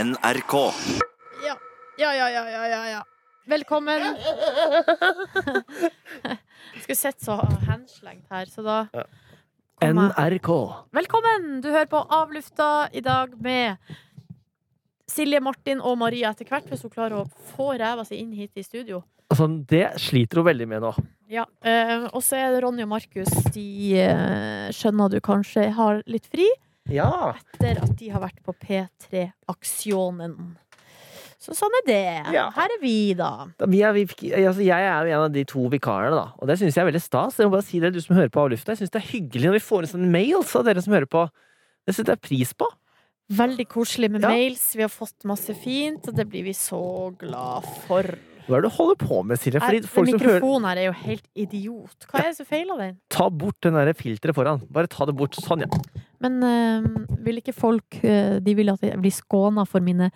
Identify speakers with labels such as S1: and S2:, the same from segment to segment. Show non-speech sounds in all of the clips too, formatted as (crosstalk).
S1: NRK.
S2: Ja. Ja, ja, ja, ja, ja, ja. Velkommen. Jeg (laughs) skulle sett så henslengt her, så da kom jeg.
S3: NRK.
S2: Velkommen! Du hører på Avlufta i dag med Silje, Martin og Maria etter hvert, hvis hun klarer å få ræva si inn hit i studio.
S3: Altså, det sliter hun veldig med nå.
S2: Ja. eh, og så er det Ronny og Markus. De eh, skjønner du kanskje har litt fri
S3: Ja.
S2: etter at de har vært på P3 Aksjonen. Så sånn er det.
S3: Ja.
S2: Her er vi, da.
S3: Vi er, vi, altså, jeg er jo en av de to vikarene, da. Og det syns jeg er veldig stas. Jeg må bare si det, du som hører på av lufta. Jeg syns det er hyggelig når vi får en sånn mail av dere som hører på. Det setter jeg pris på.
S2: Veldig koselig med
S3: Ja.
S2: mails. Vi har fått masse fint, og det blir vi så glad for.
S3: Hva er det du holder på med, Silje?
S2: Nei,
S3: Fordi
S2: den
S3: folk som hører
S2: mikrofonen her er jo helt idiot. Hva er det som feiler den?
S3: Ta bort den det filteret foran. Bare ta det bort. Sånn, ja.
S2: Men eh, vil ikke folk eh, De vil at jeg blir skåna for mine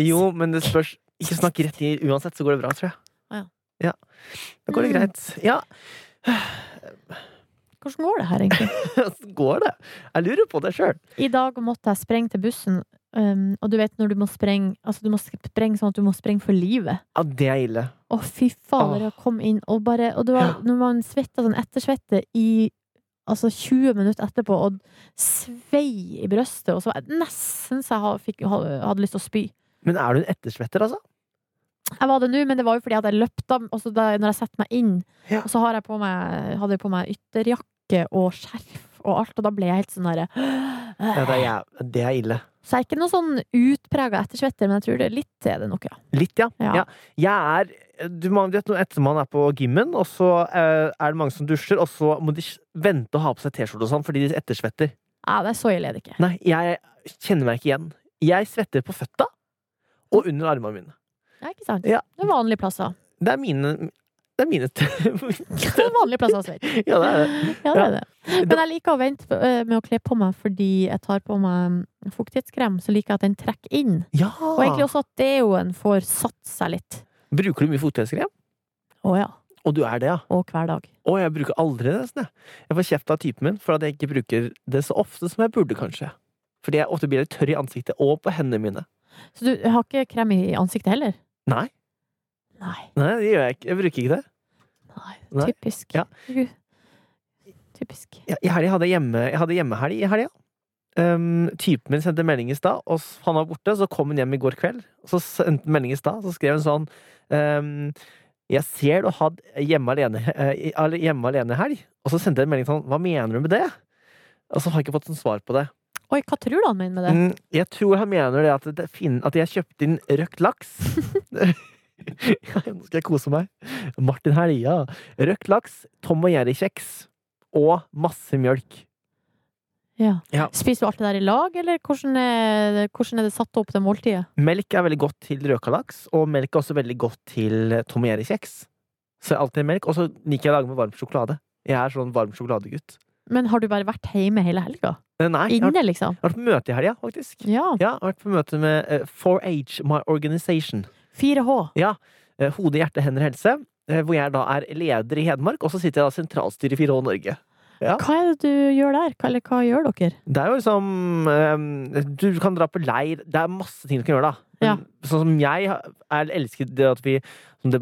S3: Jo, men det spørs Ikke snakk rett i uansett, så går det bra, tror
S2: Å,
S3: jeg. Ja. Da går det
S2: Mm.
S3: greit. Ja, (laughs)
S2: Hvordan går det her,
S3: (laughs)
S2: egentlig?
S3: går det? Jeg lurer på det sjøl.
S2: I dag måtte jeg sprenge til bussen, um, og du vet når du må sprenge Altså, du må sprenge sånn at du må sprenge for livet.
S3: Ja, det er ille.
S2: Å, fy fader, jeg kom inn og bare Og det var når man svetta sånn ettersvette i Altså 20 minutter etterpå og svei i brøstet, og så var jeg nesten så jeg ha- fikk, ha- hadde lyst til å spy.
S3: Men er du en ettersvetter, altså?
S2: Jeg var det nå, men det var jo fordi jeg hadde løpt da, og så da, når jeg setter meg inn,
S3: Ja.
S2: og så har jeg på meg, hadde jeg på meg ytterjakke og skjerf og alt, og da ble jeg helt sånn derre
S3: Ja, det, er, jæv- det er ille.
S2: Så jeg er ikke noe sånn utprega ettersvetter, men jeg tror det er litt er det nok, ja.
S3: Litt, ja.
S2: Ja.
S3: ja. Jeg er du, man, du vet når etter man er på gymmen, og så eh, er det mange som dusjer, og så må de s- vente og ha på seg T-skjorte og sånn fordi de ettersvetter.
S2: Nei, det er så ille er det ikke.
S3: Nei, jeg kjenner meg ikke igjen. Jeg svetter på føtta og under armene mine.
S2: Det er ikke sant.
S3: Ja.
S2: Det er vanlige plasser.
S3: Det er mine Det er mine
S2: Det er vanlige plasser å svette.
S3: (laughs) Ja, det er det.
S2: Ja, det er det. Men jeg liker å vente på- eh, med å kle på meg fordi jeg tar på meg mm, fuktighetskrem, så liker jeg at den trekker inn.
S3: Ja.
S2: Og egentlig også at deoen får satt seg litt.
S3: Bruker du mye fuktighetskrem?
S2: Å ja.
S3: Og du er det, ja?
S2: Og hver dag.
S3: Å, jeg bruker aldri det. nesten, jeg. Jeg får kjeft av typen min for at jeg ikke bruker det så ofte som jeg burde, kanskje. Fordi jeg ofte blir litt tørr i ansiktet og på hendene mine.
S2: Så du har ikke krem i ansiktet heller?
S3: Nei,
S2: Nei.
S3: nei, det gjør jeg ikke. Jeg bruker ikke det.
S2: Nei.
S3: Nei.
S2: Typisk.
S3: Ja.
S2: Gud. Typisk.
S3: Ja, I helga hadde jeg hjemme, jeg hadde hjemmehelg i helga. Um, typen min sendte melding i stad, og s- han var borte. Så kom hun hjem i går kveld. Så sendte hun melding i stad, så skrev hun sånn ehm, Jeg ser du har hatt hjemme alene-helg. Hjemme alene helg." og så sendte jeg en melding sånn Hva mener du med det? Og så har jeg ikke fått noe svar på det.
S2: Oi, hva tror du han mener med det?
S3: Mm, jeg tror han mener det at, det fin at jeg kjøpte inn røkt laks. Ja, Nå skal jeg kose meg. Martin Helga. Røkt laks, Tom og Jerry-kjeks og masse mjølk.
S2: Ja.
S3: Ja.
S2: Spiser du alt det der i lag, eller hvordan er, det- hvordan er det satt opp, det måltidet?
S3: Melk er veldig godt til røka laks, og melk er også veldig godt til Tom og Jerry-kjeks. Så alltid melk. Og så liker jeg å lage med varm sjokolade. Jeg er sånn varm sjokoladegutt.
S2: Men har du bare vært hjemme hele helga?
S3: Eh, Nei, jeg har
S2: Inne, liksom?
S3: jeg har vært på møte i helga, faktisk.
S2: Ja.
S3: Ja, jeg har vært på møte med eh, 4H, My Organization.
S2: 4H.
S3: eh, Hode, hjerte, hender, helse, eh, hvor jeg da er leder i Hedmark, og så sitter jeg da sentralstyret i 4H Norge. Ja.
S2: Hva er det du gjør der? Hva, eller hva gjør dere?
S3: Det er jo liksom eh, Du kan dra på leir. Det er masse ting du kan gjøre, da. Men
S2: Ja.
S3: Sånn som jeg har- er elsker det at vi Sånn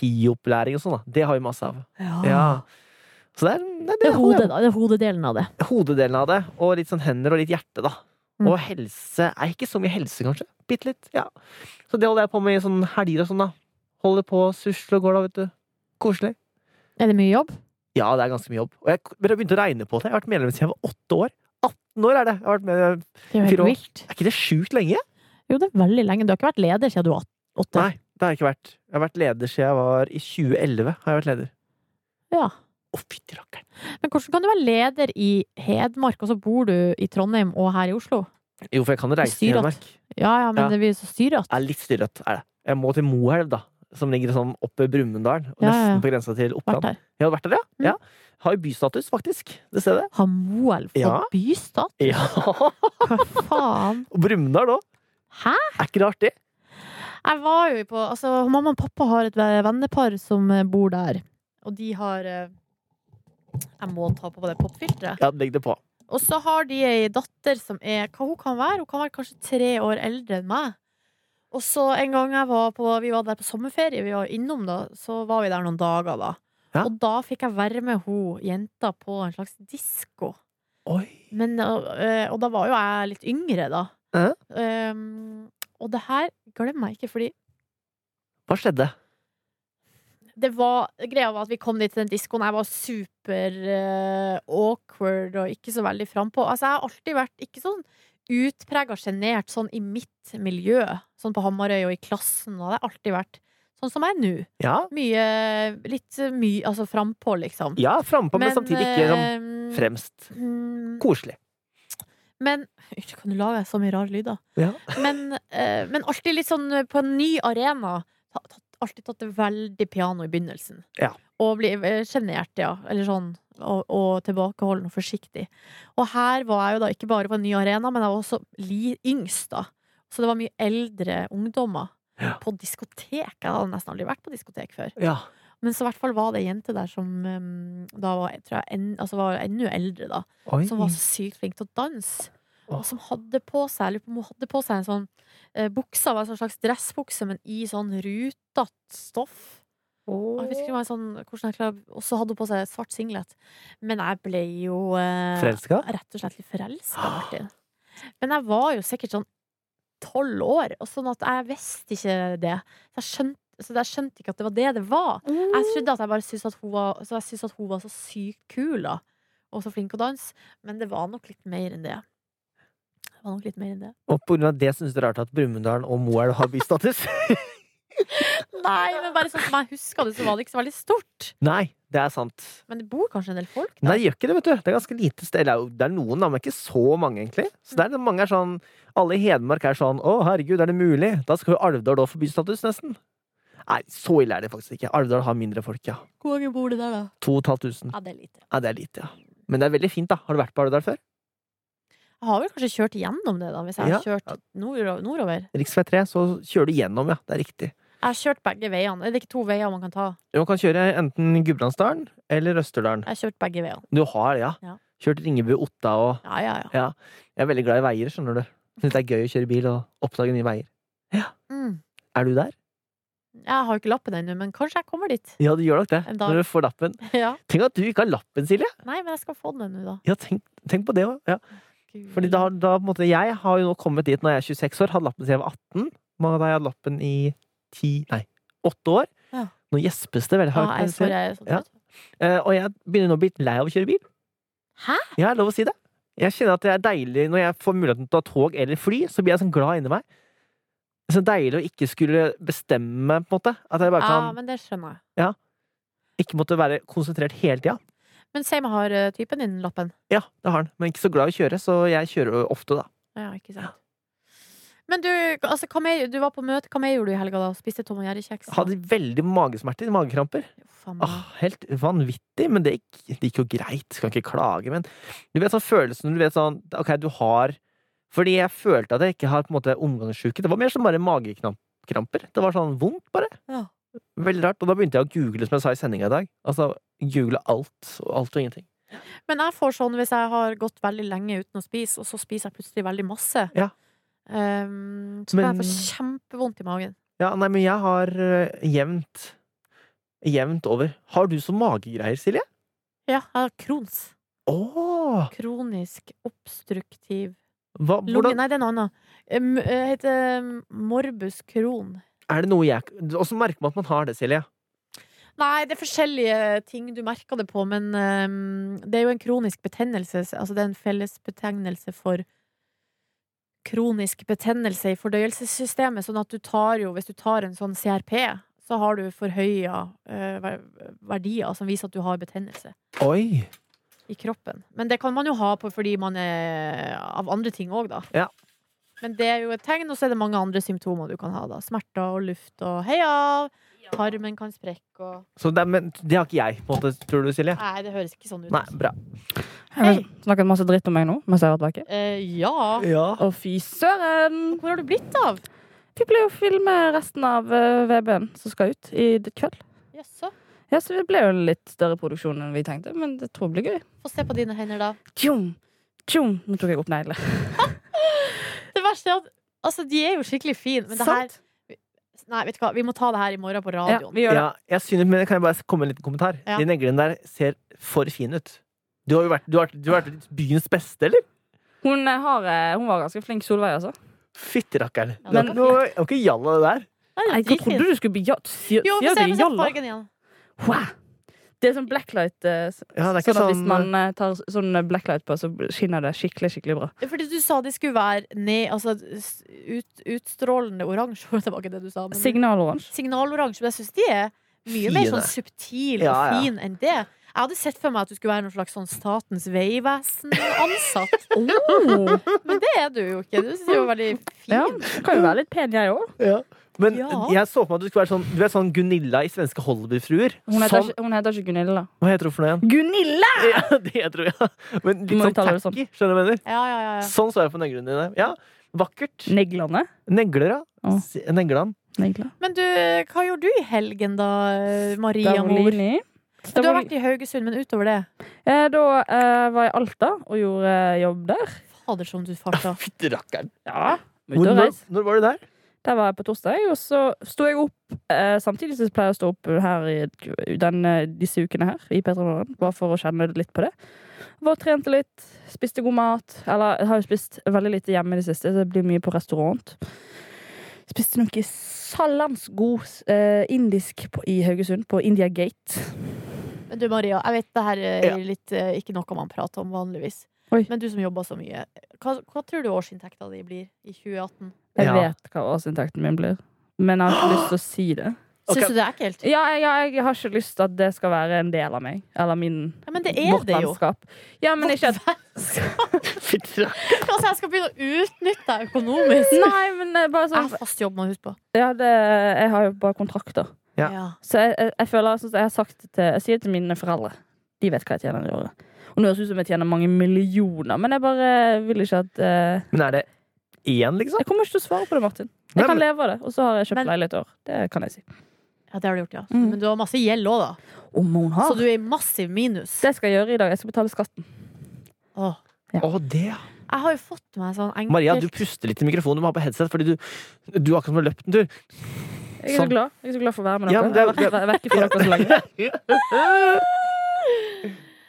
S3: demokratiopplæring og sånn, da. Det har vi masse av.
S2: Ah.
S3: Ja. Så det er, det, er
S2: Det er
S3: det,
S2: hodet, da. Det er hodedelen av det.
S3: hodedelen av det. Og litt sånn hender og litt hjerte, da.
S2: Mm.
S3: Og helse. Er ikke så mye helse, kanskje. Bitte litt. Ja. Så det holder jeg på med i sånn helger og sånn, da. Holder på, susler og går, da, vet du. Koselig.
S2: Er det mye jobb?
S3: Ja, det er ganske mye jobb. Og jeg men jeg begynte å regne på det. Jeg har vært medlem siden jeg var åtte år. 18 år er det! Jeg har vært med.
S2: Det er jo helt
S3: 4H.
S2: vilt.
S3: Er ikke det sjukt lenge?
S2: Jo, det er veldig lenge. Du har ikke vært leder siden du var åtte?
S3: Nei, det har jeg ikke vært. Jeg har vært leder siden jeg var i 2011. har jeg vært leder.
S2: Ja.
S3: Å, fytti rakkeren.
S2: Men hvordan kan du være leder i Hedmark, og så bor du i Trondheim og her i Oslo?
S3: Jo, for jeg kan reise til
S2: Styrete.
S3: Hedmark.
S2: Ja, ja, men
S3: Ja.
S2: det blir så styrete.
S3: Jeg er litt styrete, er det. Jeg må til Moelv, da. Som ligger sånn oppe i Brumunddal. og
S2: Ja, ja, ja.
S3: Nesten på grensa til
S2: Vært Mm.
S3: Oppland.
S2: her.
S3: Jeg har vært der, ja. ja. Har jo bystatus, faktisk. Det stedet.
S2: Har Moelv fått
S3: Ja. (laughs)
S2: bystat?
S3: Ja.
S2: Hva faen?
S3: Og Brumunddal òg.
S2: Hæ?
S3: Er ikke det artig?
S2: Jeg var jo på Altså, mamma og pappa har et vennepar som eh, bor der, og de har eh, Jeg må ta på det popfilteret.
S3: Ja, legg det på.
S2: Og så har de ei datter som er Hva hun kan være? Hun kan være kanskje tre år eldre enn meg. Og så en gang jeg var på, vi var der på sommerferie, vi var innom da, så var vi der noen dager da.
S3: Ja.
S2: Og da fikk jeg være med hun jenta på en slags disko.
S3: Oi.
S2: Men, og, eh, og da var jo jeg litt yngre, da.
S3: Ja.
S2: Um, og det her glemmer jeg ikke, fordi
S3: Hva skjedde?
S2: det var, greia var at vi kom dit til den diskoen. Jeg var super eh, awkward og ikke så veldig frampå. Altså, jeg har alltid vært ikke sånn utprega sjenert sånn i mitt miljø. Sånn på Hamarøy og i klassen. Og det har alltid vært sånn som jeg er nå.
S3: Ja,
S2: Mye Litt mye altså frampå, liksom.
S3: ja frampå, men, samtidig ikke sånn
S2: eh,
S3: fremst.
S2: mm,
S3: Koselig.
S2: Men (laughs) Unnskyld, kan du lage så mye rare lyder?
S3: Ja.
S2: Men, eh, men alltid litt sånn eh, på en ny arena. ta- tatt- Alltid tatt det veldig piano i begynnelsen.
S3: Ja.
S2: Og bli eh, sjenert, ja. Eller sånn. Og, og tilbakeholden og forsiktig. Og her var jeg jo da ikke bare på en ny arena, men jeg var også li yngst, da. Så det var mye eldre ungdommer.
S3: Ja.
S2: På diskotek. Jeg hadde nesten aldri vært på diskotek før.
S3: Ja.
S2: Men så i hvert fall var det ei jente der som eh, da var, jeg tror jeg, en, altså var enda eldre, da
S3: Oi.
S2: som var så sykt flink til å danse.
S3: Åh.
S2: Og som hadde på seg jeg lurer på om hun hadde på seg en sånn eh, buksa, var en sånn slags dressbukse, men i sånn rutete stoff. Og jeg vet ikke om jeg sånn, hvordan jeg klarer, og så hadde hun på seg svart singlet. Men jeg ble jo eh,
S3: Forelska?
S2: rett og slett litt forelska, Martin. Men jeg var jo sikkert sånn tolv år, og sånn at jeg visste ikke det. Så jeg skjønte, så jeg skjønte ikke at det var det det var. Jeg trodde at jeg bare syntes at hun var Så jeg syntes at hun var så sykt kul da Og så flink å danse Men det var nok litt mer enn det Det var nok litt mer enn det
S3: Og på grunn av det syns du det er rart at Brumunddal og Moelv har bystatus?
S2: (laughs) Nei, men bare sånn som jeg husker det Så var det ikke så veldig stort
S3: Nei, det er sant.
S2: Men det bor kanskje en del folk
S3: Nei,
S2: der
S3: det gjør ikke det, vet du. Det er ganske lite sted. Eller det er noen, da, men ikke så mange, egentlig. Så det er mange er sånn Alle i Hedmark er sånn Å, herregud, er det mulig? Da skal jo Alvdal òg få bystatus, nesten. Nei, så ille er det faktisk ikke. Alvdal har mindre folk, ja.
S2: Hvor mange bor det der da?
S3: 2500.
S2: Ja, det er lite
S3: Ja, det er lite, ja. Men det er veldig fint, da. Har du vært på Alvdal før?
S2: Jeg har vel kanskje kjørt gjennom det da Hvis jeg har kjørt nordo- nordover
S3: Riksvei 3, så kjører du gjennom, ja. Det er riktig.
S2: Jeg har kjørt begge veiene Er det ikke to veier man kan ta?
S3: Du kan kjøre enten Gudbrandsdalen eller Østerdalen.
S2: Jeg har kjørt begge veiene
S3: Du har, ja.
S2: Ja.
S3: Kjørt Ringebu-Otta og
S2: Ja, ja, ja
S3: Jeg er veldig glad i veier, skjønner du. Syns det er gøy å kjøre bil og oppdage nye veier.
S2: mm.
S3: Er du der?
S2: Jeg har jo ikke lappen ennå Men kanskje jeg kommer dit
S3: Ja, du gjør nok det.
S2: En dag.
S3: Når du får lappen.
S2: (laughs) Ja
S3: Tenk at du ikke har lappen, Silje!
S2: Nei, men jeg skal få den ennå da
S3: Ja, tenk, tenk på det òg. Ja.
S2: Mm.
S3: Fordi da, da på en måte, jeg har jo nå kommet dit når jeg er 26 år, hadde lappen siden jeg var 18. Mange av deg hadde lappen i 10, nei, 8 år.
S2: Ja.
S3: Nå gjespes det veldig
S2: Ja,
S3: hardt.
S2: jeg, sorry, jeg, er sånn
S3: Ja.
S2: trøtt.
S3: Eh, og jeg begynner nå å bli litt lei av å kjøre bil.
S2: Hæ?
S3: Ja, lov å si det. Jeg kjenner at det er deilig når jeg får muligheten til å ta tog eller fly, så blir jeg sånn glad inni meg. Så deilig å ikke skulle bestemme meg, på en måte. At jeg bare
S2: Ja,
S3: kan
S2: men det skjønner jeg.
S3: ikke måtte være konsentrert hele tida.
S2: Men si meg, har eh, typen din lappen?
S3: Ja, det har han. Men ikke så glad i å kjøre, så jeg kjører jo ofte, da.
S2: Ja, ikke sant. Men du, altså, hva mer, du var på møte, hva mer gjorde du i helga da? Spiste Tom og Jerry-kjeks?
S3: Hadde veldig magesmerter, magekramper.
S2: Faen,
S3: Åh, Ah, helt vanvittig, men det gikk, det gikk jo greit. Skal ikke klage, men du vet sånn følelsen du vet sånn, Ok, du har Fordi jeg følte at jeg ikke har på en måte omgangssjuke. Det var mer som bare magekramper. Det var sånn vondt, bare.
S2: Ja.
S3: Veldig rart. Og da begynte jeg å google, som jeg sa i sendinga i dag. Altså google alt og alt og ingenting.
S2: Men jeg får sånn hvis jeg har gått veldig lenge uten å spise, og så spiser jeg plutselig veldig masse.
S3: Ja.
S2: Ehm, så kan
S3: Men-
S2: jeg få kjempevondt i magen.
S3: Ja, nei, men jeg har øh, jevnt Jevnt over. Har du så magegreier, Silje?
S2: Ja, jeg har krons.
S3: Åh!
S2: Kronisk obstruktiv
S3: Hva,
S2: lunge...
S3: hvordan,
S2: Nei, det er noe annet. Em, eh, heter eh, morbus Crohn.
S3: er det noe jeg Åssen merker man at man har det, Silje?
S2: Nei, det er forskjellige ting du merker det på, men ehm, det er jo en kronisk betennelse. Altså det er en fellesbetegnelse for kronisk betennelse i fordøyelsessystemet. Sånn at du tar jo, hvis du tar en sånn CRP, så har du forhøya eh, ver- verdier som viser at du har betennelse
S3: Oi!
S2: i kroppen. Men det kan man jo ha på fordi man er av andre ting òg, da.
S3: Ja.
S2: Men det er jo et tegn, og så er det mange andre symptomer du kan ha, da. Smerter og luft og heia! Tarmen kan sprekke og
S3: Så det, er- men det har ikke jeg, på en måte, tror du, Silje?
S2: Nei, det høres ikke sånn ut.
S3: Nei, bra.
S2: Hei.
S1: Har du snakket masse dritt om meg nå mens jeg har vært vekke?
S2: Eh, ja.
S3: Ja.
S1: Å, fy søren!
S2: Hvor har du blitt av?
S1: Vi ble jo filme resten av eh, VB-en som skal ut i d- kveld.
S2: Jaså.
S1: Ja, så det ble jo en litt større produksjon enn vi tenkte, men det tror jeg blir gøy.
S2: Få se på dine hender, da.
S1: Tjom, Tjom! Nå tok jeg opp negler.
S2: Det verste er at altså, de er jo skikkelig fine, men det her
S1: Sant?
S2: Nei, vet du hva, vi må ta det her i morgen på
S1: Ja,
S2: radioen.
S1: vi gjør det.
S3: Ja, jeg synes, men kan jeg bare komme med en liten kommentar?
S2: Ja.
S3: De neglene der ser for fine ut. Du har jo vært, du har, vært- du har vært byens beste, eller?
S1: Hun, eh, har, eh, hun var ganske flink, Solveig, altså.
S3: Fytterakkeren.
S2: Ja,
S3: Du har
S2: det
S3: ikke
S2: var
S3: noe- du har ikke jalla det der.
S2: Nei, det er
S1: Nei, jeg
S2: dritfint.
S1: trodde du skulle bli ja, sier-
S2: Jo, få
S1: sier
S2: se,
S1: du
S2: få se
S1: jalla?
S2: fargen igjen.
S1: Wow. Det er sånn blacklight eh, s-
S3: Ja, det er ikke
S1: sånn at Hvis
S3: sånn-
S1: man eh, tar s- sånn eh, blacklight på, så skinner det skikkelig skikkelig bra.
S2: Fordi du sa de skulle være ned, altså, s- ut, utstrålende oransje. (laughs) Det var ikke det du sa. men-
S1: (laughs) Signaloransje.
S2: signaloransje, men jeg syns de er mye mer
S3: Fine.
S2: sånn subtil
S3: Ja, ja.
S2: og fin enn det. Jeg hadde sett for meg at du skulle være noen slags sånn Statens (laughs) vegvesen-ansatt,
S1: Oh.
S2: men det er du jo ikke. Du synes jo veldig fin.
S1: Ja, kan jo være litt pen, jeg òg.
S3: Men
S2: Ja.
S3: jeg så på meg at du skulle være sånn, du er sånn Gunilla i svenske Hollywood-fruer.
S1: Hun, heter
S3: Sånn,
S1: ikke- hun heter ikke Gunilla.
S3: hva heter hun for noe igjen?
S1: Gunilla!
S3: (laughs) Ja, det tror jeg. Men
S1: Du
S3: litt
S1: må
S3: sånn
S1: uttale
S3: tacky,
S1: det sånn.
S3: skjønner du hva jeg mener?
S2: Ja, ja, ja, ja.
S3: Sånn så jeg på neglene dine. Ja, vakkert.
S1: Neglene.
S3: Negler, ja.
S1: Å.
S3: Se- Neglene.
S1: Negler.
S2: Men du, hva gjorde du i helgen da, Maria Mor?
S1: Stavolini.
S2: Du har
S1: Stavol-
S2: vært i Haugesund, men utover det
S1: Eh, Da eh, var jeg i Alta og gjorde eh, jobb der.
S2: Fader, som du farta.
S3: Fytterakkeren.
S1: Ja, ute
S3: Hvor-
S1: og
S3: Når,
S1: reise.
S3: når var du der?
S1: Der var jeg på torsdag, og så sto jeg opp eh, samtidig som jeg pleier å stå opp her i den, eh, disse ukene her i Petremorgen, bare for å kjenne litt på det. Var og trente litt, spiste god mat. Eller jeg har jo spist veldig lite hjemme i det siste, så det blir mye på restaurant. Spiste noe salans god eh, indisk på, i Haugesund, på India Gate.
S2: (laughs) Men du, Maria, jeg vet det her er
S3: Ja.
S2: litt, eh, ikke noe man prater om vanligvis.
S1: Oi.
S2: Men du som jobber så mye, hva, hva tror du årsinntekta di blir i 2018?
S1: Jeg
S3: Ja.
S1: vet hva årsinntekten min blir, men jeg har ikke lyst til å si det.
S3: Ok.
S2: Syns du det er ekkelt?
S1: Ja, jeg, jeg har ikke lyst til at det skal være en del av meg, eller min,
S2: Ja, men det er
S1: vårt
S2: det jo.
S1: vennskap. Ja, men ikke at
S3: Fytterakkeren.
S2: Altså, jeg skal begynne å utnytte deg økonomisk.
S1: Nei, men eh, bare
S2: Jeg
S1: sånn
S2: har fast jobb, må du huske på.
S1: Ja, det, jeg har jo bare kontrakter.
S3: Ja.
S1: Så jeg, jeg, jeg føler sånn som jeg har sagt det til Jeg sier det til mine foreldre. De vet hva jeg tjener i året. Og nå høres det ut som jeg tjener mange millioner, men jeg bare vil ikke at eh,
S3: Men er det én, liksom?
S1: Jeg kommer ikke til å svare på det, Martin.
S3: Nei,
S1: Jeg kan
S3: men-
S1: leve av det, og så har jeg kjøpt
S2: Men-
S1: leilighet i år. Det kan jeg si.
S2: Ja, det har du gjort, ja.
S1: Mm.
S2: Men du har masse gjeld òg, da.
S1: Om hun
S2: Så
S3: Ah.
S1: har.
S2: du er i massiv minus.
S1: Det skal jeg gjøre i dag. Jeg skal betale skatten.
S2: Åh.
S1: Ja.
S3: Å, det, ja.
S2: Jeg har jo fått meg sånn enkelt
S3: Maria, du puster litt i mikrofonen. Du må ha på headset fordi du, du har akkurat som du har løpt en tur.
S1: Jeg er så
S3: Sånn.
S1: glad Jeg er så glad for å være med
S3: Ja,
S1: dere.
S3: men
S1: Jeg har
S3: det-
S1: vært vært vekke fra dere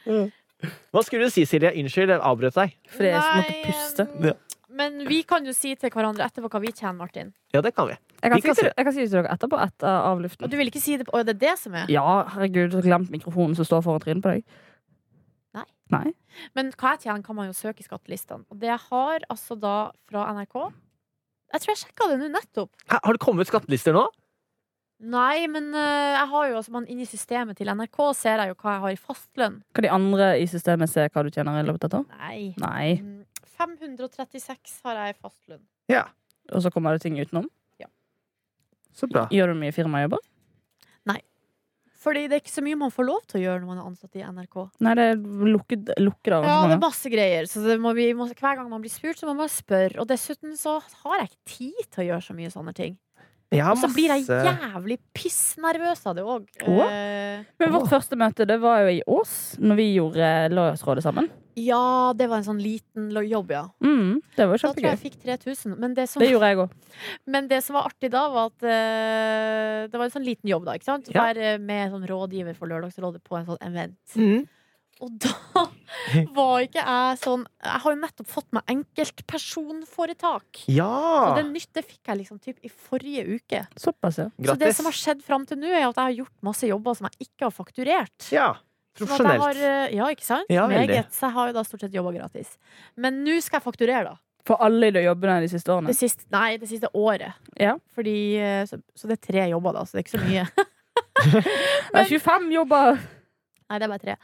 S1: så lenge.
S3: (laughs) Hva skulle du si, Silje? Unnskyld, jeg avbrøt deg.
S1: Fordi jeg
S3: sånn
S1: måtte
S2: Nei,
S1: puste.
S2: em, Men vi kan jo si til hverandre etterpå hva vi tjener, Martin.
S3: Ja, det kan vi.
S1: Jeg kan,
S3: vi kan
S1: si til,
S3: se.
S1: jeg kan si det til dere etterpå, etter
S2: Og
S1: avluften.
S2: du vil ikke si det på Å, det er det som er?
S1: Ja, herregud, så glemt mikrofonen som står foran trynet på deg.
S2: Nei.
S1: Nei.
S2: Men hva jeg tjener, kan man jo søke i skattelistene. Og det jeg har altså da fra NRK Jeg tror jeg sjekka det nå nettopp.
S3: Hæ, Har det kommet skattelister nå?
S2: Nei, men eh, jeg har jo altså man inni systemet til NRK ser jeg jo hva jeg har i fastlønn.
S1: Kan de andre i systemet se hva du tjener i løpet av et år?
S2: Nei.
S1: Nei.
S2: Mm, 536 har jeg i fastlønn.
S1: Og så kommer det ting utenom?
S3: Så bra.
S1: Gjør du mye firmajobber?
S2: Fordi det er ikke så mye man får lov til å gjøre når man er ansatt i NRK.
S1: Nei, det er lukket, lukkede
S2: Ja, det er
S1: arrangementer.
S2: masse greier. Så det må vi, må, hver gang man blir spurt, så må man spørre. Og dessuten så har jeg ikke tid til å gjøre så mye sånne ting.
S3: Jeg har
S2: Og så blir jeg
S3: masse-
S2: jævlig pissnervøs av det Eh, òg.
S1: Åh? Men vårt første møte det var jo i Ås, når vi gjorde Lørdagsrådet sammen.
S2: ja, det var en sånn liten lo- jobb, ja.
S1: Mm, det var jo
S2: Da tror jeg
S1: kjempegøy.
S2: jeg fikk 3000. Men det som,
S1: Det gjorde jeg òg.
S2: men det som var artig da, var at eh, det var en sånn liten jobb, da. ikke sant?
S3: Ja.
S2: Være med sånn rådgiver for Lørdagsrådet på en sånn event.
S3: Mm.
S2: Og
S3: (laughs)
S2: da var ikke jeg sånn Jeg har jo nettopp fått meg enkeltpersonforetak. Så
S3: Ja!
S2: det nytt det fikk jeg liksom typ i forrige uke.
S1: Såpass, ja.
S2: Så det
S3: Grattis.
S2: som har skjedd fram til nå, er at jeg har gjort masse jobber som jeg ikke har fakturert.
S3: Ja.
S2: Sånn at jeg har,
S3: Profesjonelt.
S2: eh, ja, ikke sant?
S3: Ja, veldig.
S2: Meget. Så jeg har jo da stort sett jobba gratis. Men nå skal jeg fakturere, da.
S1: For alle de jobbene de siste
S3: Mm.
S1: årene.
S2: Det siste, nei, det siste året.
S1: Ja.
S2: Fordi, eh, så, så det er tre jobber, da, så det er ikke så mye.
S1: Det er 25 jobber!
S2: Nei, det er bare tre.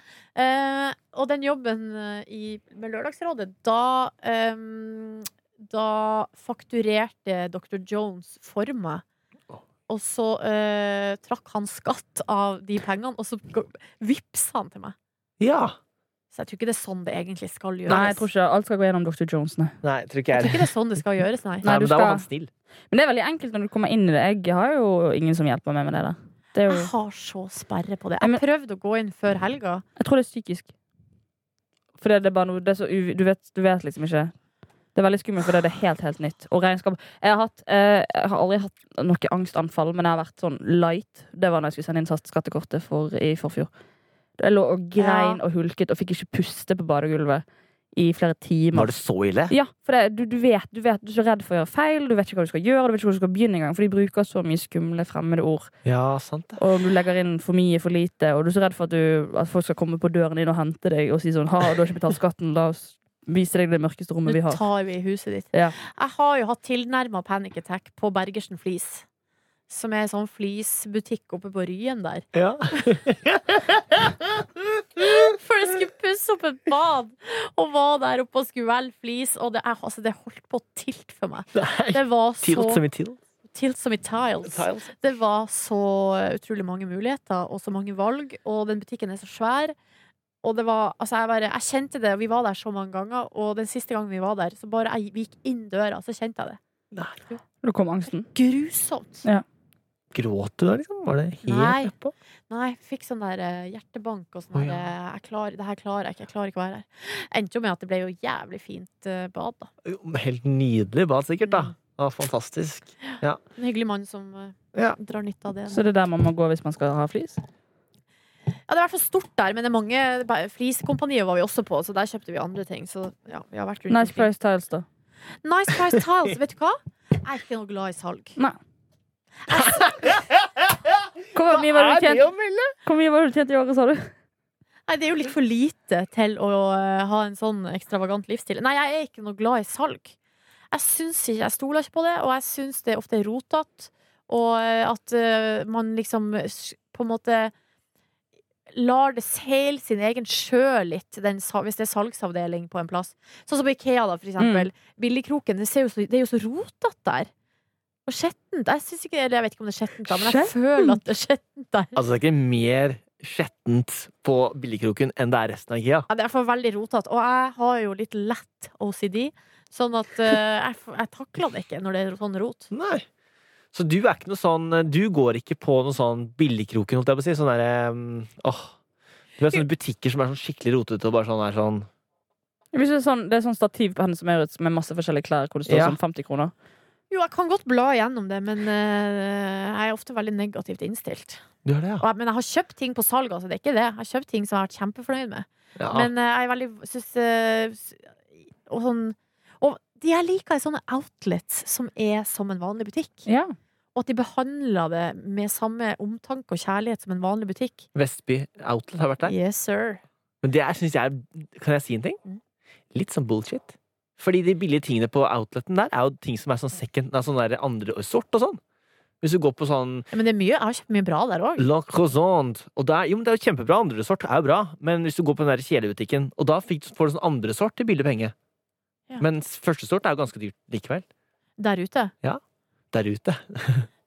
S2: Eh, og den jobben eh, i, med Lørdagsrådet, da ehm, Da fakturerte Dr. Jones for meg. Og så eh, trakk han skatt av de pengene, og så go- vippsa han til meg.
S3: Ja.
S2: Så jeg tror ikke det er sånn det egentlig skal gjøres.
S1: Nei, jeg tror ikke alt skal gå gjennom Dr. Jones, nei.
S3: Nei, tror ikke
S2: Jeg
S3: jeg
S2: tror ikke det er sånn det skal gjøres, nei.
S3: Nei,
S1: Nei, du
S3: men da var
S1: skal-
S3: han snill.
S1: Men det er veldig enkelt når du kommer inn i det. Jeg har jo ingen som hjelper meg med det der. Det er jo,
S2: Jeg har så sperre på det.
S1: Nei, men-
S2: Jeg prøvde å gå inn før helga.
S1: jeg tror det er psykisk. Fordi det er bare noe det er så u, du, vet, du vet liksom ikke. Det er veldig skummelt, fordi det er helt helt nytt. Og regnskap Jeg har, hatt, eh, jeg har aldri hatt noe angstanfall, men jeg har vært sånn light. Det var når jeg skulle sende inn sats- skattekortet for, i forfjor. Jeg lå og grein og hulket og fikk ikke puste på badegulvet i flere timer.
S3: Var det så ille?
S1: Ja, for det, du, du, vet, du vet Du er så redd for å gjøre feil, du vet ikke hva du skal gjøre, du vet ikke hvor du skal begynne engang, for de bruker så mye skumle fremmede ord.
S3: Ja, sant det.
S1: Og du legger inn for mye, for lite, og du er så redd for at, du, at folk skal komme på døren din og hente deg og si sånn Ha, du har ikke betalt skatten, la oss vise deg det mørkeste
S2: Nå
S1: rommet vi har.
S2: tar vi huset ditt.
S1: Ja.
S2: Jeg har jo hatt tilnærma panic attack på Bergersen Flis. Som er en sånn flisbutikk oppe på Ryen der.
S3: (laughs) Ja.
S2: For jeg skulle pusse opp et bad, og var der oppe og skulle velge flis, og det, jeg- altså, det holdt på å tilte for meg.
S3: Nei.
S2: Det var
S3: Tilt
S2: så
S3: som i tilt.
S2: Tilt som i tiles.
S3: Tiles.
S2: Det var så utrolig mange muligheter og så mange valg, og den butikken er så svær. Og det var, altså jeg, bare, jeg kjente det, og vi var der så mange ganger, og den siste gangen vi var der, så bare jeg gikk inn døra, så kjente jeg det.
S1: Da kom angsten.
S2: Grusomt!
S3: Gråt du da, liksom? Var det helt
S2: Nei.
S3: nedpå?
S2: Nei, jeg fikk sånn der eh, hjertebank og sånn
S3: Å,
S2: der,
S3: ja.
S2: eh, jeg klar, Det her klarer jeg ikke, jeg klarer ikke å være her. Endte jo med at det ble jo jævlig fint eh, bad, da.
S3: Jo, Helt nydelig bad, sikkert, da.
S2: Mm.
S3: Ja, fantastisk.
S2: En hyggelig mann som eh,
S3: Ja.
S2: drar nytte av det.
S1: Så det er der man må gå hvis man skal ha flis?
S2: Ja, det er i hvert fall stort der, men det er mange Flisekompaniet var vi også på, så der kjøpte vi andre ting. Så ja, vi har vært rundt
S1: Nice
S2: omkring.
S1: Price Tiles, da.
S2: Nice Price Tiles, vet du hva? Jeg er ikke noe glad i salg.
S1: Nei. (laughs) Hvor mye var det du tjente-
S3: å melde?
S1: hvor mye var det du tjente i året, sa du?
S2: Nei, Det er jo litt for lite til å eh, ha en sånn ekstravagant livsstil. Nei, jeg er ikke noe glad i salg. Jeg syns ikke, jeg stoler ikke på det, og jeg syns det ofte er rotete. Og eh, at eh, man liksom s- på en måte lar det seile sin egen sjø litt, den, sa- hvis det er salgsavdeling på en plass. Sånn som på Ikea, da, for eksempel. Billigkroken, det, ser jo så, det er jo så rotete der. Og skjettent. Jeg, synes ikke, eller jeg vet ikke om det er skjettent, da, men jeg føler at det er skjettent der.
S3: Altså, det er ikke mer skjettent på billigkroken enn det er resten av Ikea.
S2: Ja, det er for veldig rotete. Og jeg har jo litt lett OCD, sånn at eh, jeg, f- jeg takler det ikke når det er sånn rot.
S3: Nei. Så du er ikke noe sånn Du går ikke på noe sånn billigkroken, holdt jeg på å si. Sånn derre um, Åh. Du vet sånne butikker som er sånn skikkelig rotete og bare sånn er sånn
S1: Hvis det, er sånn, det er sånn stativ på henne som er med masse forskjellige klær, hvor det står
S3: Ja.
S1: sånn 50 kroner.
S2: Jo, jeg kan godt bla igjennom det, men eh, jeg er ofte veldig negativt innstilt.
S3: Du er det, ja?
S2: Og, jeg- men jeg har kjøpt ting på salg, altså. Det er ikke det. Jeg har kjøpt ting som jeg har vært kjempefornøyd med.
S3: ja.
S2: Men eh, jeg er veldig synes, eh, s- Og sånn Og de jeg liker, er sånne outlets som er som en vanlig butikk.
S1: Ja.
S2: Og at de behandler det med samme omtanke og kjærlighet som en vanlig butikk.
S3: Vestby Outlet har vært der.
S2: Yes, sir.
S3: Men det er, synes jeg er- Kan jeg si en ting?
S2: Mm.
S3: Litt sånn bullshit. Fordi de billige tingene på outleten der er jo ting som er sånn second nei, Sånn der andre sort og sånn. Hvis du går på sånn
S2: Ja, Men det er mye, jeg har kjøpt mye bra der òg.
S3: La Croissant og der, Jo, men det er jo kjempebra. Andresort er jo bra. Men hvis du går på den der kjedebutikken, og da fikk, får du sånn andresort til billig penge.
S2: Ja.
S3: Mens førstesort er jo ganske dyrt likevel.
S2: Der ute.
S3: Der ute.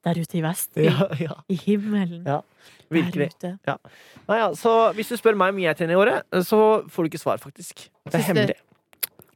S2: Der ute i vest.
S3: ja.
S2: I himmelen.
S3: Ja, (laughs) Virkelig.
S2: Der ute.
S3: Nei, ja, så hvis du spør meg hvor mye jeg tjener i året, så får du ikke svar, faktisk. Det er
S2: Synes du-
S3: hemmelig.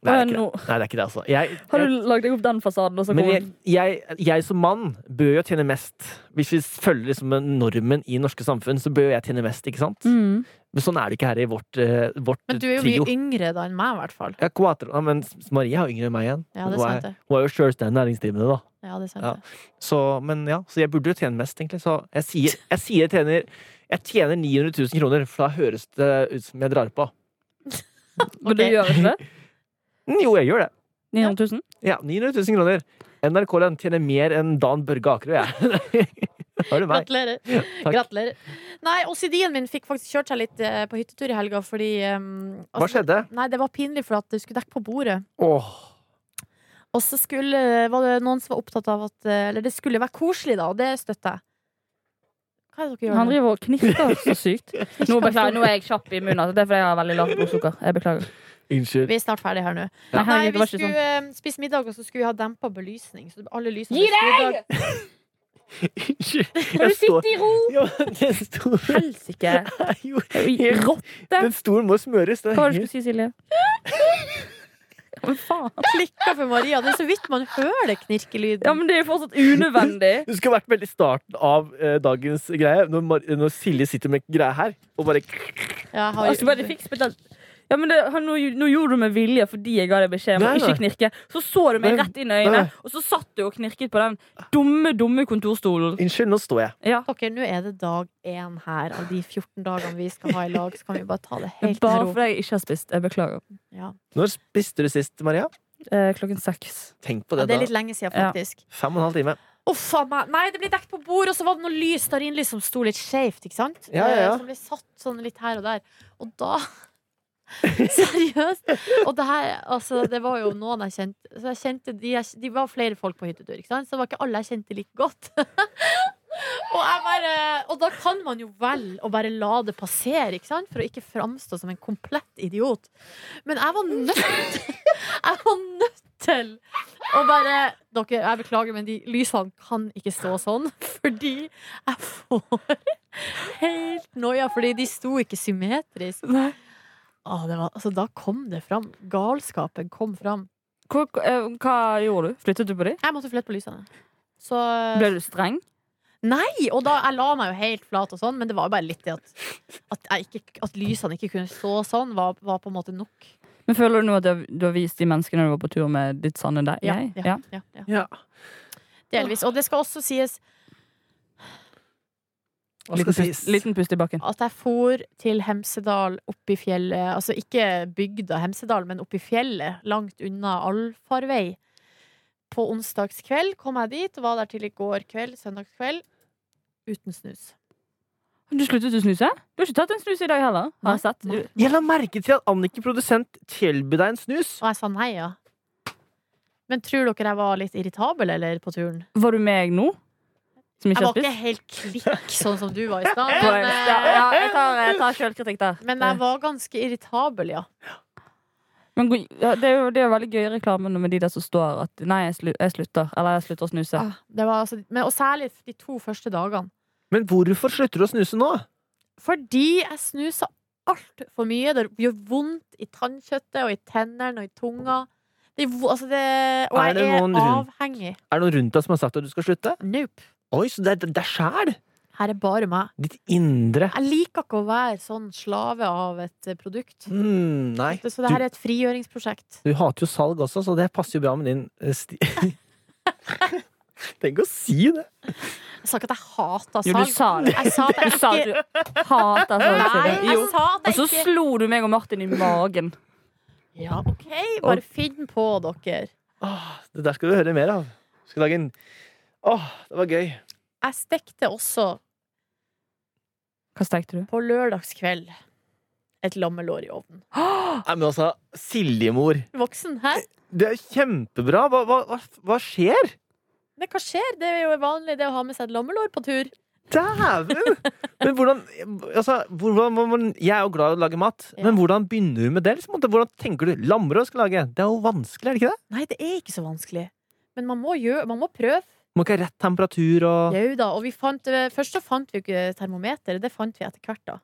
S3: Nei, det er ikke det.
S1: Nå-
S3: Nei, det er ikke det, altså. Jeg,
S1: Har du lagd deg opp den fasaden, og så
S3: men
S1: kommer
S3: jeg, jeg, jeg som mann bør jo tjene mest. Hvis vi følger liksom normen i norske samfunn, så bør jeg tjene mest, ikke sant?
S1: Mm.
S3: Men sånn er det ikke her i vårt, eh, vårt
S2: Men du er jo
S3: trio.
S2: mye yngre da enn meg, i hvert fall.
S3: Ja, quattro. Ja, men Maria er jo yngre enn meg igjen.
S2: Ja, det er
S3: hun,
S2: sant,
S3: er,
S2: det.
S3: hun er jo selvstendig næringsdrivende, da.
S2: Ja, det er sant,
S3: Ja.
S2: det.
S3: Så, men ja, så jeg burde jo tjene mest, egentlig. Så jeg sier, jeg, sier jeg, tjener, jeg tjener 900 000 kroner, for da høres det ut som jeg drar på.
S1: Men du
S2: Ok.
S1: gjør ikke (laughs) det?
S3: Mm, Jo, jeg gjør det.
S1: 900 000?
S3: Ja, 900 000 kroner. NRK-lønn tjener mer enn Dan Børge Akerø, jeg. (laughs) Har du meg?
S2: Gratulerer. Gratulerer. Nei, OCD-en min fikk faktisk kjørt seg litt eh, på hyttetur i helga, fordi ehm,
S3: Hva
S2: altså,
S3: skjedde?
S2: Nei, det var pinlig for at det skulle dekke på bordet.
S3: Åh,
S2: Og så skulle, var det noen som var opptatt av at eh, Eller det skulle være koselig, da, og det støtter jeg. Hva er det dere gjør?
S1: Han
S2: nå?
S1: driver og knirker så (laughs) sykt. Nå, beklager, nå er jeg kjapp i munnen. altså. Det er fordi jeg har veldig lavt blodsukker. Jeg beklager.
S3: unnskyld.
S2: Vi er snart ferdig her nå.
S1: Nei,
S2: Nei,
S1: herregud, det
S2: vi
S1: var ikke
S2: skulle
S1: sånn.
S2: eh, spise middag, og så skulle vi ha dempa belysning. Så alle lysene
S1: Gi
S2: skulle i dag-
S3: Unnskyld.
S1: Kan
S3: Jeg
S1: du
S3: står
S1: sitte i ro?
S3: (laughs) ja, men Den stolen
S1: Helsike.
S3: er jo
S1: Rotte.
S3: Den stolen må smøres. Den
S1: Hva var det
S3: henger
S1: du skulle si, Silje? Men faen.
S2: klikka for Maria. Det er så vidt man hører det knirkelyden.
S1: Ja, men det er jo fortsatt unødvendig.
S3: Du skulle vært veldig i starten av eh, dagens greie, når, Mar- når Silje sitter med greia her, og bare
S2: Ja, jeg har-
S1: Og så Altså, bare fikk spilt den Ja, men det, han, nå, nå gjorde du med vilje fordi jeg ga deg beskjed om å
S3: Nei, nei.
S1: ikke knirke. Så så du meg
S3: Nei,
S1: rett inn i øynene,
S3: nei.
S1: og så satt du og knirket på den dumme, dumme kontorstolen.
S3: Unnskyld, nå står jeg.
S1: Ja.
S2: Dere, nå er det dag én her av de 14 dagene vi skal ha i lag, så kan vi bare ta det helt med
S1: Bare
S2: ro.
S1: fordi jeg ikke har spist. Jeg beklager.
S2: Ja.
S3: Når spiste du sist, Maria?
S1: Eh, klokken seks.
S3: Tenk på
S2: Ja,
S3: det,
S2: det er
S3: da.
S2: litt lenge siden,
S1: Ja.
S2: faktisk.
S3: Fem og en halv time.
S2: Å, faen meg. Nei, det ble dekt på bord, og så var det noe lys der inne som sto litt skjevt, ikke sant?
S3: Ja, ja, ja.
S2: Eh, Som ble satt sånn litt her og der. Og da (laughs) Seriøst! Og det her, altså, det var jo noen jeg kjente. Så jeg kjente de, jeg, de var flere folk på hyttetur, ikke sant? Så det var ikke alle jeg kjente like godt. (laughs) og, jeg bare, og da kan man jo velge å bare la det passere, ikke sant? For å ikke framstå som en komplett idiot. Men jeg var nødt (laughs) Jeg var nødt til å bare Dere, jeg beklager, men de lysene kan ikke stå sånn. (laughs) Fordi jeg får helt noia, fordi de sto ikke symmetrisk.
S1: Nei.
S2: Å, det var, altså, da kom det fram. Galskapen kom fram.
S1: Hva, eh, hva gjorde du? Flyttet du på dem?
S2: Jeg måtte flytte på lysene. Så
S1: Ble du streng?
S2: Nei! Og da, jeg la meg jo helt flat og sånn, men det var bare litt det at, at, jeg ikke, at lysene ikke kunne stå sånn, var, var på en måte nok.
S1: Men Føler du nå at du har- du har vist de menneskene du var på tur med, ditt sanne deg? Jeg?
S2: ja, ja, ja.
S3: Ja.
S2: Delvis. Og det skal også sies
S3: Hva
S1: Liten,
S3: skal
S1: pust,
S3: sies?
S1: liten pust i bakken.
S2: at jeg for til Hemsedal oppi fjellet, altså ikke bygda Hemsedal, men oppi fjellet, langt unna allfarvei. På onsdagskveld kom jeg dit, var der til i går kveld, søndagskveld, uten snus.
S1: Du sluttet å snuse? Du har ikke tatt en snus i dag heller? Har jeg sett?
S2: Nei.
S3: Jeg la merke til at Anniken produsent tilbød deg en snus.
S2: Og jeg sa nei, ja. Men tror dere jeg var litt irritabel, eller, på turen?
S1: Var du med meg nå? Som ikke
S2: Jeg
S1: har
S2: var ikke
S1: spist?
S2: helt klikk sånn som du var i
S1: (laughs)
S2: stad,
S1: På-
S2: men, eh,
S1: Ja, jeg tar, jeg tar selvkritikk der. Eh,
S2: men jeg var ganske irritabel, ja.
S1: Men go- ja, det, er jo, det er jo veldig gøy i reklamen med de der som står at Nei, jeg, slu, jeg slutter. Eller jeg slutter å snuse.
S2: Ah, Det var, altså, men, og særlig de to første dagene.
S3: Men hvorfor slutter du å snuse nå?
S2: Fordi jeg snuser altfor mye. Det gjør vondt i tannkjøttet og i tennene og i tunga. Det, er vo- altså det, og
S3: Er
S2: jeg
S3: det
S2: er
S3: noen rundt-
S2: avhengig.
S3: Er det noen rundt deg som har sagt at du skal slutte?
S2: Nope.
S3: Oi, så det er deg sjæl!
S2: Her er bare meg.
S3: Ditt indre.
S2: Jeg liker ikke å være sånn slave av et eh, produkt.
S3: Mm, nei.
S2: Så det her er et frigjøringsprosjekt.
S3: Du hater jo salg også, så det passer jo bra med din eh, sti... (laughs) Tenk å si det!
S2: Jeg sa ikke at jeg hater salg.
S1: Jo, du sa det.
S2: Jeg sa at
S1: (laughs) Du
S2: jeg
S1: sa
S2: ikke
S1: at du hater sånn.
S2: Nei,
S1: sier du.
S2: jeg
S1: Jo.
S2: sa at
S1: Og
S2: jeg
S1: så
S2: ikke
S1: slo du meg og Martin i magen.
S2: Ja, OK, bare finn på, dere.
S3: Åh, det der skal du høre mer av. Skal lage en Åh, det var gøy.
S2: Jeg stekte også
S1: Hva stekte du?
S2: på lørdagskveld et lammelår i ovnen.
S3: Nei, men altså, Siljemor.
S2: Voksen, hæ?
S3: Det er kjempebra! Hva, hva, hva, hva skjer?
S2: Men hva skjer? Det er jo vanlig det å ha med seg et lammelår på tur.
S3: Dæven! Men hvordan, altså, hvordan må man, Jeg er jo glad i å lage mat,
S2: Ja.
S3: men hvordan begynner du med det? Liksom? Hvordan tenker du lammerød skal lage? Det er jo vanskelig, er det ikke det?
S2: Nei, det er ikke så vanskelig. Men man må, gjøre, man må prøve.
S3: Må ikke ha rett temperatur og
S2: Jau da. Og vi fant, eh, først så fant vi jo ikke termometer. Det fant vi etter hvert, da.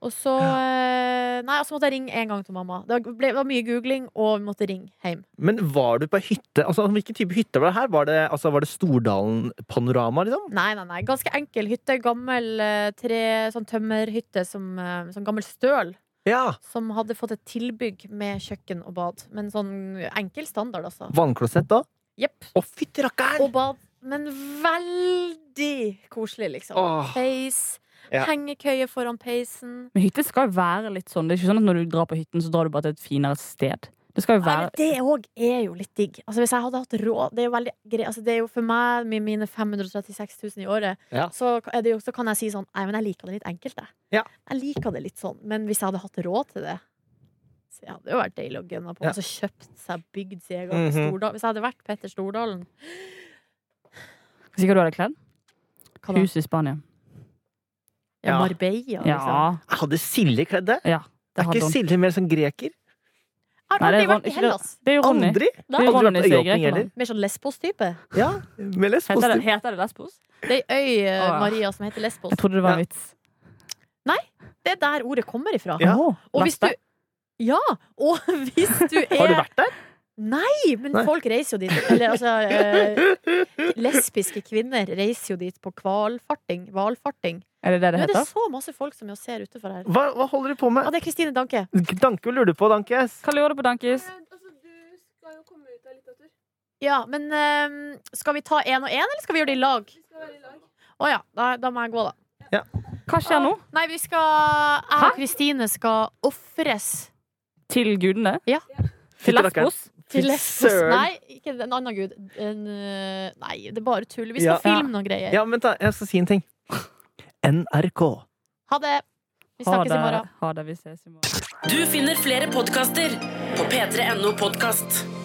S2: Og så eh, Nei, og så måtte jeg ringe en gang til mamma. Det ble, det var mye googling, og vi måtte ringe hjem.
S3: Men var du på ei hytte? Altså, hvilken type hytte var det her? Var det, altså, var det Stordalen-panorama, liksom?
S2: Nei, nei, nei. Ganske enkel hytte. Gammel eh, tre, sånn tømmerhytte som eh, sånn gammel støl.
S3: Ja!
S2: Som hadde fått et tilbygg med kjøkken og bad. Men sånn enkel standard, altså.
S3: Vannklosett, da?
S2: Jepp.
S3: Å, fytti rakkeren!
S2: Og bad, men veldig koselig, liksom.
S3: Åh.
S2: Peis.
S3: Ja.
S2: Hengekøye foran peisen.
S1: Men hytte skal jo være litt sånn. Det er ikke sånn at når du drar på hytten, så drar du bare til et finere sted. Det skal jo
S2: Nei, men
S1: være
S2: det òg er jo litt digg. Altså, hvis jeg hadde hatt råd Det er jo veldig greit. Altså, det er jo for meg, med mine 536 000 i året,
S3: Ja.
S2: så, er det jo, så kan jeg si sånn Nei, men jeg liker det litt enkelt, jeg.
S3: Ja.
S2: Jeg liker det litt sånn. Men hvis jeg hadde hatt råd til det så det hadde jo vært deilig å gunne på.
S3: Ja.
S2: Og så kjøpt seg bygd seg mm
S3: Mhm.
S2: Stordalen. Hvis jeg hadde vært Petter Stordalen
S1: Sikkert du hadde kledd?
S2: hva da?
S1: Hus i Spania.
S2: Ja,
S3: Ja.
S2: Marbella, liksom.
S1: Ja,
S3: Jeg hadde Silje kledd det?
S1: ja. Det
S3: Er
S1: hadde
S3: ikke
S1: hun.
S3: Silje mer sånn greker?
S2: Jeg har
S1: Nei, det
S2: aldri
S1: er Ron-
S2: vært i
S1: ikke det-
S2: Hellas.
S1: Det er jo Ronny.
S3: Aldri!
S1: Det er jo
S3: Aldri vært
S1: Ronny som er
S3: på Øyåpning
S1: greker, da.
S3: heller.
S2: Mer sånn Lesbos-type.
S3: Ja, med
S1: Heter det,
S3: lesbos.
S1: heter det lesbos?
S2: Det er ei øy, eh,
S1: Å, ja.
S2: Maria, som heter Lesbos.
S1: Jeg trodde det var en vits.
S2: Det er der ordet kommer ifra.
S3: Ja.
S1: Åh,
S2: og hvis du
S1: leste.
S2: Ja! Og (laughs) hvis du er
S3: Har du vært der?
S2: Nei, men
S3: Nei.
S2: folk reiser jo dit. Eller altså eh, Lesbiske kvinner reiser jo dit på hvalfarting. Hvalfarting.
S1: Er
S2: Nå
S1: det det det
S2: er det
S1: heter?
S2: så masse folk som er og ser utenfor her.
S3: (laughs) Hva, hva holder du på
S2: Ja,
S3: med?
S2: det er Kristine Danke.
S3: Danke, hva lurer du på, Dankes?
S1: Hva lurer du på, Dankis?
S4: Eh, Altså, du skal jo komme ut av litteratur.
S2: Ja, men ehm, skal vi ta én og én, eller skal vi gjøre det i lag?
S4: Vi skal være i lag.
S2: Å ja, da, da må jeg gå, da.
S1: Hva skjer nå?
S2: Nei, vi skal Jeg
S1: Hæ?
S2: og Kristine skal ofres
S1: Til gudene?
S2: Ja.
S1: Til
S3: Fytti rakkeren.
S1: Lesbos?
S2: til
S3: Fy
S2: Lesbos.
S3: søren.
S2: Nei, ikke en annen gud. En, øh, nei, det er bare tull. Vi skal
S3: Ja.
S2: filme noen greier.
S3: Ja, vent, da. Jeg skal si en ting. NRK.
S2: Ha det. Vi
S1: Ha
S2: snakkes i
S1: det.
S2: morgen.
S1: Ha det. Vi ses i morgen.
S5: Du finner flere podkaster på p3.no podkast.